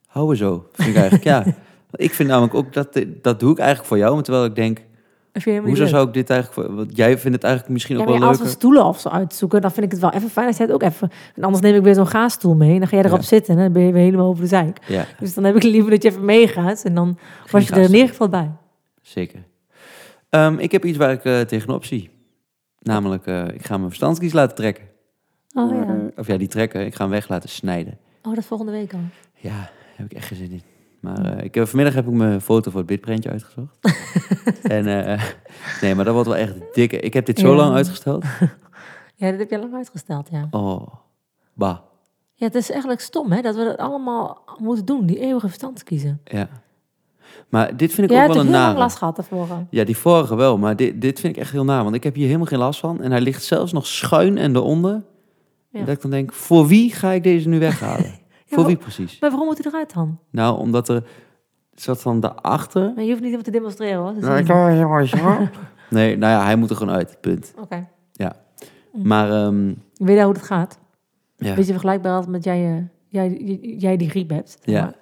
A: Hou we zo, vind ik eigenlijk, ja. Want Ik vind namelijk ook, dat, dat doe ik eigenlijk voor jou. maar Terwijl ik denk,
B: Dat vind je helemaal niet
A: Hoezo
B: leuk.
A: zou ik dit eigenlijk... voor- Want jij vindt het eigenlijk misschien
B: Ja,
A: ook
B: maar ja,
A: wel
B: als
A: leuk.
B: we stoelen of zo uitzoeken, dan vind ik het wel even fijn als jij het ook even... En anders neem ik weer zo'n gaasstoel mee en dan ga jij erop
A: Ja.
B: zitten en dan ben je weer helemaal over de zeik.
A: Ja,
B: Dus dan heb ik liever dat je even meegaat en dan was je er in
A: gaasstoel.
B: ieder geval bij.
A: zeker. Ehm, ik heb iets waar ik eh, tegenop zie. Namelijk, eh, ik ga mijn verstandskies laten trekken.
B: Oh ja.
A: Of ja, die trekken. Ik ga hem weg laten snijden.
B: Oh, dat is volgende week al.
A: Ja, daar heb ik echt geen zin in. Maar eh, ik heb, vanmiddag heb ik mijn foto voor het bitprintje uitgezocht. eh, en eh, nee, maar dat wordt wel echt dikke... Ik heb dit zo
B: Ja.
A: lang uitgesteld.
B: Ja, dat heb je lang uitgesteld, ja.
A: Oh, bah.
B: Ja, het is eigenlijk stom, hè, dat we dat allemaal moeten doen, die eeuwige verstand kiezen.
A: Ja. Maar dit vind ik
B: Jij
A: ook
B: hebt
A: wel
B: natuurlijk
A: een
B: heel lang
A: nare.
B: last gehad daarvoor. eh? al.
A: Ja, die vorige wel, maar dit, dit vind ik echt heel naar. Want ik heb hier helemaal geen last van. En hij ligt zelfs nog schuin en eronder.
B: Ja.
A: En dat ik dan denk, voor wie ga ik deze nu weghalen? voor
B: maar-
A: wie precies?
B: Maar waarom moet hij eruit dan?
A: Nou, omdat er zat dan daarachter.
B: Maar je hoeft niet iemand te demonstreren, hoor. Dat
A: Nou,
B: is niet-
A: Nee, nou ja, hij moet er gewoon uit, punt.
B: Oké. Mm.
A: Maar ehm,
B: Weet je hoe dat gaat?
A: ja,
B: Beetje vergelijkbaar als met jij, eh, jij, jij, jij die griep hebt.
A: Ja.
B: Maar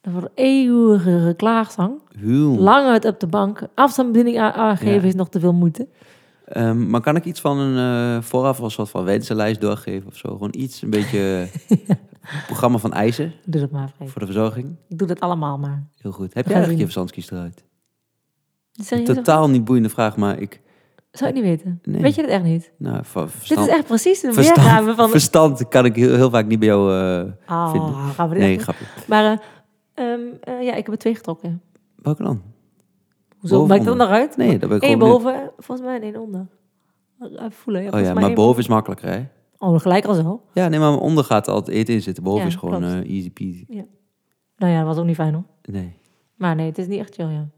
B: Dan wordt er eeuwige klaagzang.
A: huw.
B: Lang uit op de bank. Afstandsbediening a- aangeven
A: Ja.
B: is nog te veel moeite.
A: Ehm, maar kan ik iets van een eh, vooraf als wat van wensenlijst doorgeven of zo? Gewoon iets, een beetje eh, programma van eisen
B: Doe dat maar, Freek.
A: voor de verzorging.
B: Doe dat allemaal maar.
A: Heel goed. Heb jij
B: We gaan
A: eigenlijk je
B: zien.
A: verstandskies eruit?
B: Serieus?
A: Totaal niet boeiende vraag, maar ik...
B: Zou ik niet weten.
A: Nee.
B: Weet je dat echt niet?
A: Nou, va-
B: Dit is
A: verstand,
B: echt precies een
A: verstand-
B: weergave van...
A: verstand kan ik heel, heel vaak niet bij jou eh,
B: Ah,
A: vinden.
B: gaan we dit
A: Nee,
B: echt
A: grapje.
B: doen? Maar eh, ehm, eh, ja, ik heb er twee getrokken.
A: Welke dan?
B: Hoezo?
A: Boven,
B: Maakt dat
A: onder?
B: nog uit?
A: Nee, dat ben ik
B: Eén
A: gewoon
B: boven, volgens mij, en één onder. Eh, Even voelen.
A: benieuwd.
B: Ja, volgens
A: Oh ja,
B: mij
A: maar
B: één-
A: boven is makkelijker, hè?
B: Oh, gelijk al zo.
A: Ja, nee, maar onder gaat er altijd eten in zitten. Boven
B: Ja,
A: is gewoon
B: klopt.
A: eh, easy peasy.
B: Nou ja, dat was ook niet fijn hoor.
A: Nee.
B: Maar nee, het is niet echt chill, ja.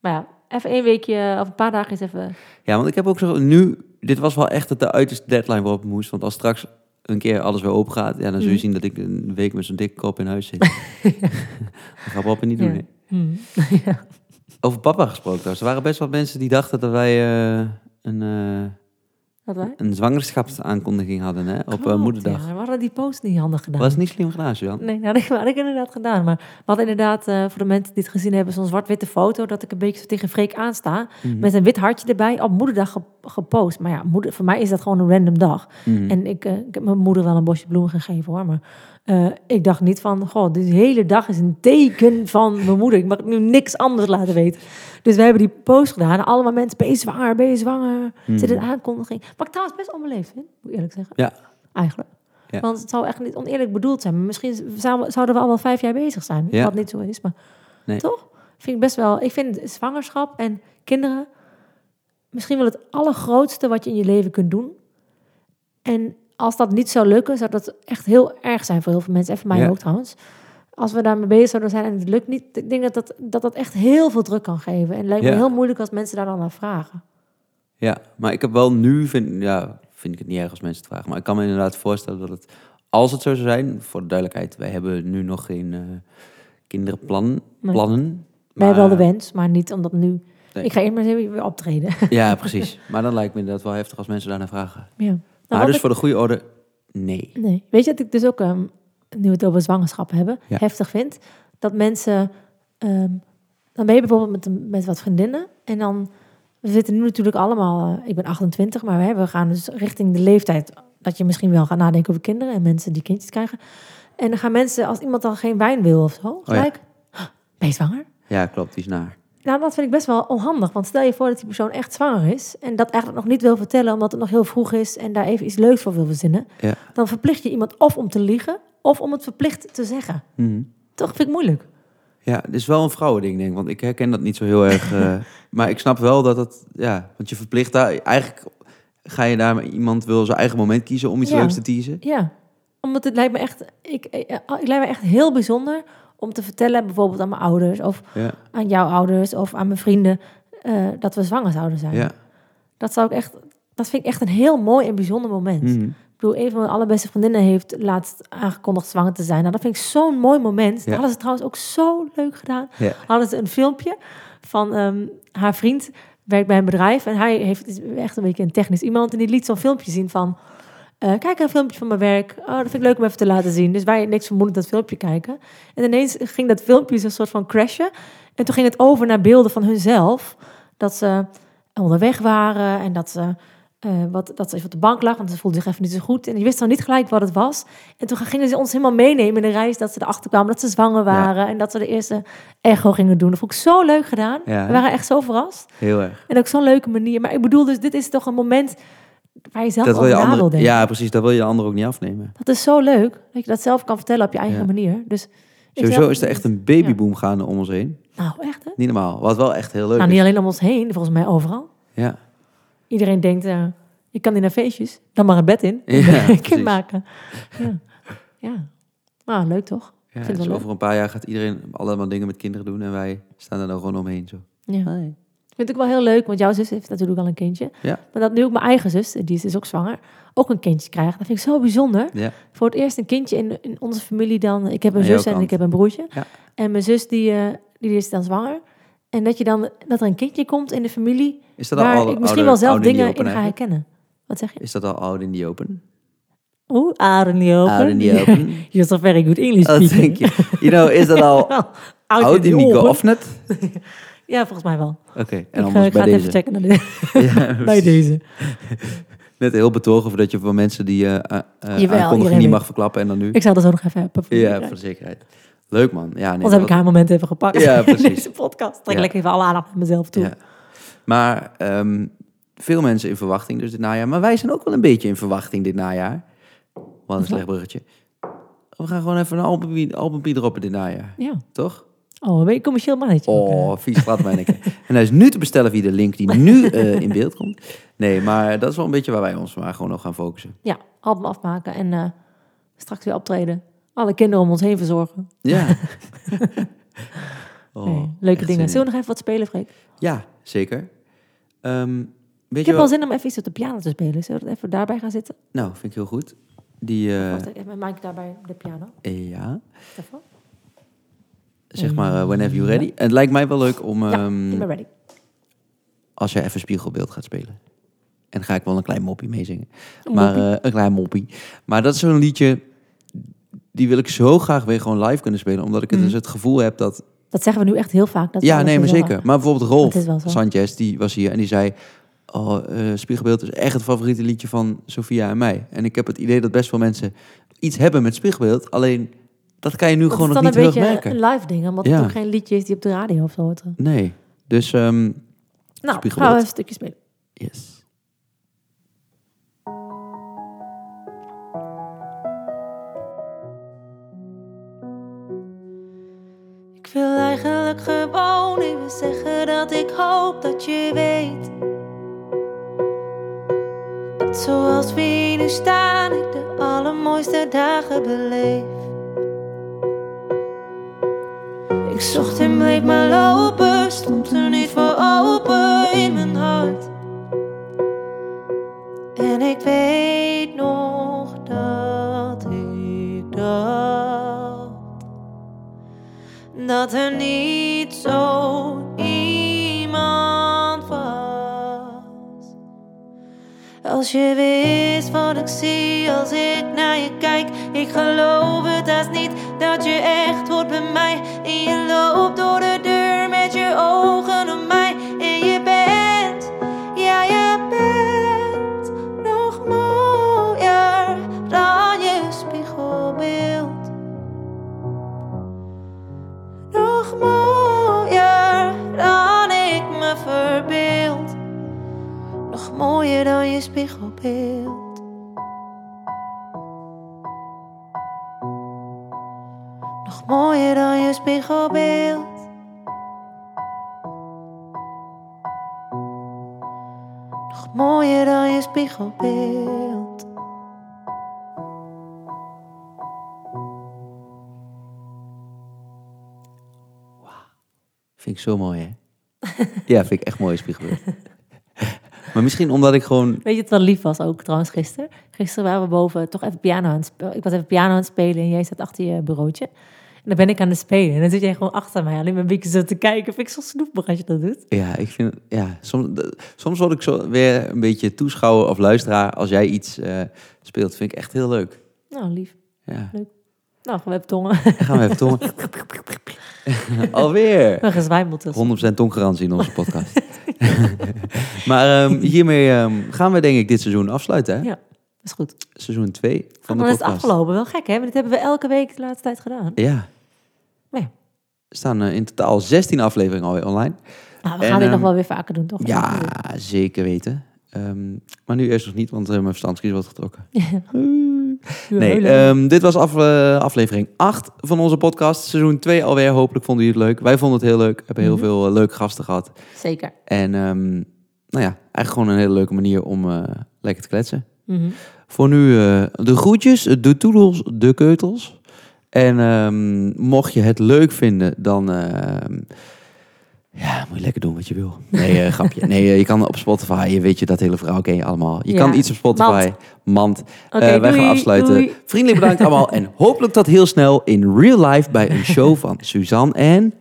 B: Maar ja, even één weekje eh, of een paar dagen is even...
A: Ja, want ik heb ook zo... Nu, dit was wel echt het de uiterste deadline waarop het moest. Want als straks een keer alles weer open gaat... Ja, dan zul je
B: Mhm.
A: zien dat ik een week met zo'n dikke kop in huis zit. dat gaat papa niet doen,
B: Ja.
A: hè?
B: Hmm.
A: Over papa gesproken trouwens. Er waren best wel mensen die dachten dat wij eh, een, eh
B: Wat wij?
A: een zwangerschapsaankondiging hadden hè, op eh,
B: Klopt,
A: moederdag.
B: Ja, we hadden die post niet handig gedaan.
A: Was niet slim gedaan, Jan.
B: Nee, nou, dat had ik inderdaad gedaan. Maar we hadden inderdaad, eh, voor de mensen die het gezien hebben, zo'n zwart-witte foto. Dat ik een beetje zo tegen Freek aansta. Met een wit hartje erbij. Op moederdag ge- gepost. Maar ja, moeder, voor mij is dat gewoon een random dag. En ik, eh, ik heb mijn moeder wel een bosje bloemen gegeven hoor. Maar eh, ik dacht niet van, goh, deze hele dag is een teken van mijn moeder. Ik mag nu niks anders laten weten. Dus we hebben die post gedaan. Allemaal mensen, ben je zwanger, ben je zwanger? Zit een aankondiging. Wat ik trouwens best onbeleefd vind, moet ik eerlijk zeggen.
A: Ja.
B: Eigenlijk.
A: Ja.
B: Want het zou echt niet oneerlijk bedoeld zijn. Maar misschien zou- zouden we al wel vijf jaar bezig zijn.
A: Ja.
B: Wat niet zo is, maar
A: Nee.
B: toch? Vind ik best wel... Ik vind zwangerschap en kinderen... misschien wel het allergrootste wat je in je leven kunt doen. En als dat niet zou lukken, zou dat echt heel erg zijn voor heel veel mensen. En voor mij
A: Ja.
B: ook trouwens. Als we daarmee bezig zouden zijn en het lukt niet... Ik denk dat dat, dat, dat echt heel veel druk kan geven. En het lijkt
A: Ja.
B: me heel moeilijk als mensen daar dan naar vragen.
A: Ja, maar ik heb wel nu, vind, ja, vind ik het niet erg als mensen het vragen. Maar ik kan me inderdaad voorstellen dat het, als het zo zou zijn, voor de duidelijkheid, wij hebben nu nog geen eh kinderplan,
B: Nee.
A: plannen. maar-
B: Wij hebben wel de wens, maar niet omdat nu...
A: Nee.
B: Ik ga eerst maar eens even weer optreden.
A: Ja, precies. Maar dan lijkt me inderdaad wel heftig als mensen daarnaar vragen.
B: ja. Nou,
A: maar
B: wat
A: dus
B: ik-
A: voor de goede orde, nee.
B: Nee. Weet je dat ik dus ook, ehm, nu we het over zwangerschap hebben,
A: Ja.
B: heftig vind? Dat mensen, ehm, dan ben je bijvoorbeeld met, een- met wat vriendinnen en dan, we zitten nu natuurlijk allemaal, eh, ik ben 28, maar hè, we gaan dus richting de leeftijd dat je misschien wel gaat nadenken over kinderen en mensen die kindjes krijgen. En dan gaan mensen, als iemand dan geen wijn wil of zo,
A: Oh ja.
B: gelijk, ben je zwanger?
A: Ja, klopt, die is naar.
B: Nou, dat vind ik best wel onhandig. Want stel je voor dat die persoon echt zwanger is... en dat eigenlijk nog niet wil vertellen omdat het nog heel vroeg is... en daar even iets leuks voor wil verzinnen...
A: Ja.
B: dan verplicht je iemand of om te liegen... of om het verplicht te zeggen.
A: Mhm.
B: Toch vind ik moeilijk.
A: Ja, dit is wel een vrouwending, denk ik. Want ik herken dat niet zo heel erg. eh, maar ik snap wel dat het... Ja, want je verplicht daar... Eigenlijk ga je daar... Iemand wil zijn eigen moment kiezen om iets
B: Ja.
A: leuks te teasen.
B: Ja, omdat het lijkt me echt... Ik, eh, eh, het lijkt me echt heel bijzonder om te vertellen... bijvoorbeeld aan mijn ouders of
A: Ja,
B: aan jouw ouders... of aan mijn vrienden eh, dat we zwanger zouden zijn.
A: ja.
B: Dat, zou ik echt, dat vind ik echt een heel mooi en bijzonder moment.
A: Mhm.
B: Ik bedoel, een van mijn allerbeste vriendinnen heeft laatst aangekondigd zwanger te zijn. Nou, dat vind ik zo'n mooi moment. Dat
A: Ja.
B: hadden ze trouwens ook zo leuk gedaan.
A: Ja.
B: Hadden ze een filmpje van ehm, haar vriend, werkt bij een bedrijf. En hij heeft, is echt een beetje een technisch iemand. En die liet zo'n filmpje zien van, eh, kijk een filmpje van mijn werk. Oh, dat vind ik leuk om even te laten zien. Dus wij niks vermoedend dat filmpje kijken. En ineens ging dat filmpje zo'n soort van crashen. En toen ging het over naar beelden van hunzelf. Dat ze onderweg waren en dat ze, eh, wat, dat ze even op de bank lag, want ze voelde zich even niet zo goed. En je wist dan niet gelijk wat het was. En toen gingen ze ons helemaal meenemen in de reis dat ze erachter kwamen dat ze zwanger waren. En dat ze de eerste echo gingen doen. Dat vond ik zo leuk gedaan.
A: Ja, hè?
B: We waren echt zo verrast.
A: Heel erg.
B: En ook zo'n leuke manier. Maar ik bedoel dus, dit is toch een moment waar je zelf
A: Dat wil
B: over
A: je
B: na wil
A: andere,
B: denken.
A: ja, precies. Dat wil je de ander ook niet afnemen.
B: Dat is zo leuk, dat je dat zelf kan vertellen op je eigen
A: Ja.
B: manier. Dus ik
A: Sowieso
B: zelf-
A: is er echt een babyboom gaande om ons heen.
B: Nou, echt hè?
A: Niet normaal. Wat wel echt heel leuk
B: Nou, niet
A: is.
B: alleen om ons heen, volgens mij overal.
A: Ja.
B: Iedereen denkt, eh, ik Ik kan niet naar feestjes. Dan maar een bed in.
A: Ja,
B: Een
A: precies.
B: kind maken. Ja. ja. Nou, leuk toch?
A: Ja,
B: vind het wel
A: dus
B: leuk.
A: over een paar jaar gaat iedereen allemaal dingen met kinderen doen en wij staan er dan gewoon omheen. Zo.
B: Ja. Vind ik wel heel leuk, want jouw zus heeft natuurlijk al een kindje.
A: Ja.
B: Maar dat nu ook mijn eigen zus, die is dus ook zwanger, ook een kindje krijgt. Dat vind ik zo bijzonder.
A: Ja.
B: Voor het eerst een kindje in, in onze familie dan. Ik heb een
A: Aan jouw
B: zus en
A: kant.
B: ik heb een broertje.
A: Ja.
B: En mijn zus die, eh, die is dan zwanger. En dat, je dan, dat er een kindje komt in de familie
A: Is dat
B: waar
A: al
B: ik misschien wel zelf dingen in ga
A: gaan
B: herkennen. Wat zeg je?
A: Is dat al oud in the open?
B: Oeh, Aaron die open.
A: Oud in the open.
B: You're so very good English
A: Oh,
B: speaking.
A: thank you. You know, is dat al
B: Wel,
A: oud in
B: die
A: the
B: open.
A: of net?
B: Ja, volgens mij wel.
A: Oké, en
B: ik ga,
A: anders
B: ik ga
A: bij
B: het
A: deze.
B: even checken naar de-
A: Ja,
B: bij
A: precies.
B: deze.
A: Net heel betogen over dat je van mensen die eh, eh, eh
B: Jawel,
A: aankondiging
B: iedereen
A: niet
B: weet.
A: mag verklappen en dan nu.
B: Ik zal dat zo nog even hebben. voor
A: Ja,
B: je.
A: voor zekerheid. Leuk man. Ja, nee,
B: Anders heb ik
A: dat-
B: haar moment even gepakt
A: Ja,
B: in
A: precies.
B: deze podcast. Trek
A: Ja.
B: lekker even alle aandacht naar mezelf toe.
A: Ja. Maar ehm, veel mensen in verwachting dus dit najaar. Maar wij zijn ook wel een beetje in verwachting dit najaar. Wat een slecht bruggetje. We gaan gewoon even een albumpie, albumpie droppen dit najaar.
B: Ja.
A: Toch?
B: Oh, ben je een commercieel mannetje?
A: Oh, vies glad mijn En hij is nu te bestellen via de link die nu eh, in beeld komt. Nee, maar dat is wel een beetje waar wij ons maar gewoon op gaan focussen.
B: Ja, album afmaken en eh, straks weer optreden. Alle kinderen om ons heen verzorgen.
A: Ja. Oh,
B: Nee, leuke
A: echt
B: dingen.
A: zin in.
B: Zullen we nog even wat spelen, Freek?
A: Ja, zeker. Ehm, weet je
B: Ik heb
A: wel...
B: wel zin om even iets op de piano te spelen. Zullen we dat even daarbij gaan zitten?
A: Nou, vind ik heel goed. Die, eh,
B: Wacht, even maak ik daarbij de piano.
A: ja,
B: Even.
A: zeg maar eh, whenever you're ready. En het lijkt mij wel leuk om...
B: Ja,
A: ehm,
B: ik ben ready.
A: als jij even spiegelbeeld gaat spelen. En dan ga ik wel een klein moppie meezingen. Maar eh, een klein moppie. Maar dat is zo'n liedje. Die wil ik zo graag weer gewoon live kunnen spelen. Omdat ik het dus het gevoel heb dat.
B: Mhm. Dat zeggen we nu echt heel eh, vaak. Dat
A: ja,
B: we
A: nee, maar
B: dat
A: zeker.
B: willen.
A: Maar bijvoorbeeld
B: Het is wel
A: Rolf
B: zo.
A: Sanchez, die was hier en die zei. Oh, eh, Spiegelbeeld is echt het favoriete liedje van Sofia en mij. En ik heb het idee dat best veel mensen iets hebben met Spiegelbeeld. Alleen dat kan je nu
B: Dat
A: gewoon
B: is
A: nog
B: dan
A: niet
B: een beetje
A: terugmerken.
B: een live ding. Omdat
A: Ja.
B: het ook geen liedje is die op de radio of zo hoort.
A: Nee. Dus, ehm,
B: Nou, gaan we
A: Spiegelbeeld.
B: even een stukje spelen.
A: yes.
C: Ik wil eigenlijk gewoon even zeggen dat ik hoop dat je weet. Dat zoals we hier nu staan, ik de allermooiste dagen beleef. Ik zocht en bleef maar lopen, stond er niet voor open in mijn hart. En ik weet nog dat ik dacht dat er niet zo iemand was. Als je wist wat ik zie als ik naar je kijk, ik geloof het haast niet dat je echt wordt bij mij. En je loopt door de deur met je ogen op mij. En je bent, ja, je bent nog mooier dan je spiegelbeeld nog mooier dan ik me verbeeld. Nog mooier dan je spiegelbeeld. Nog mooier dan je spiegelbeeld. Nog mooier dan je spiegelbeeld.
A: Vind ik zo mooi, hè? ja, vind ik echt mooi spiegelbeeld. maar misschien omdat ik gewoon...
B: Weet je het wel lief was ook trouwens gisteren? Gisteren waren we boven toch even piano aan het spelen. Ik was even piano aan het spelen en jij zat achter je bureautje. En dan ben ik aan het spelen en dan zit jij gewoon achter mij. Alleen maar een beetje zo te kijken. Vind ik zo snoepig als je dat doet.
A: Ja, ik vind... Ja, soms, d- soms word ik zo weer een beetje toeschouwer of luisteraar als jij iets eh, speelt. Vind ik echt heel leuk.
B: Nou, lief.
A: Ja.
B: Nou, we hebben tongen.
A: Dan gaan we even tongen. Alweer!
B: We gezwijmeld dus.
A: 100% tonggarantie in onze podcast. maar ehm, hiermee ehm, gaan we denk ik dit seizoen afsluiten, hè?
B: Ja. Is goed.
A: Seizoen 2 van de
B: En dan is het
A: podcast.
B: afgelopen. Wel gek, hè? Want dit hebben we elke week de laatste tijd gedaan.
A: Ja.
B: Maar ja.
A: Er staan eh, in totaal 16 afleveringen alweer online.
B: Nou, we
A: En,
B: gaan dit nog
A: ehm,
B: wel weer vaker doen, toch?
A: Ja, zeker weten. Ehm, maar nu eerst nog niet, want eh, mijn verstandskies wordt getrokken. Nee, ehm, dit was af, eh, aflevering 8 van onze podcast. Seizoen 2 alweer. Hopelijk vonden jullie het leuk. Wij vonden het heel leuk. Hebben heel veel eh, leuke gasten gehad.
B: Zeker.
A: En ehm, nou ja, eigenlijk gewoon een hele leuke manier om, eh, lekker te kletsen.
B: Mhm.
A: Voor nu eh, de groetjes, de toedels, de keutels. En ehm, mocht je het leuk vinden, dan ehm, ja, moet je lekker doen wat je wil. Nee, eh, grapje. Nee, eh, je kan op Spotify, je weet je, dat hele verhaal ken je allemaal. Je
B: Ja.
A: kan iets op Spotify. Mand.
B: Oké,
A: Eh, wij
B: doei,
A: gaan afsluiten.
B: doei.
A: Vriendelijk bedankt allemaal. En hopelijk dat heel snel in real life bij een show van Suzanne en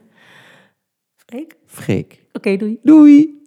B: Freek? Oké,
A: Freek.
B: doei.
A: Doei!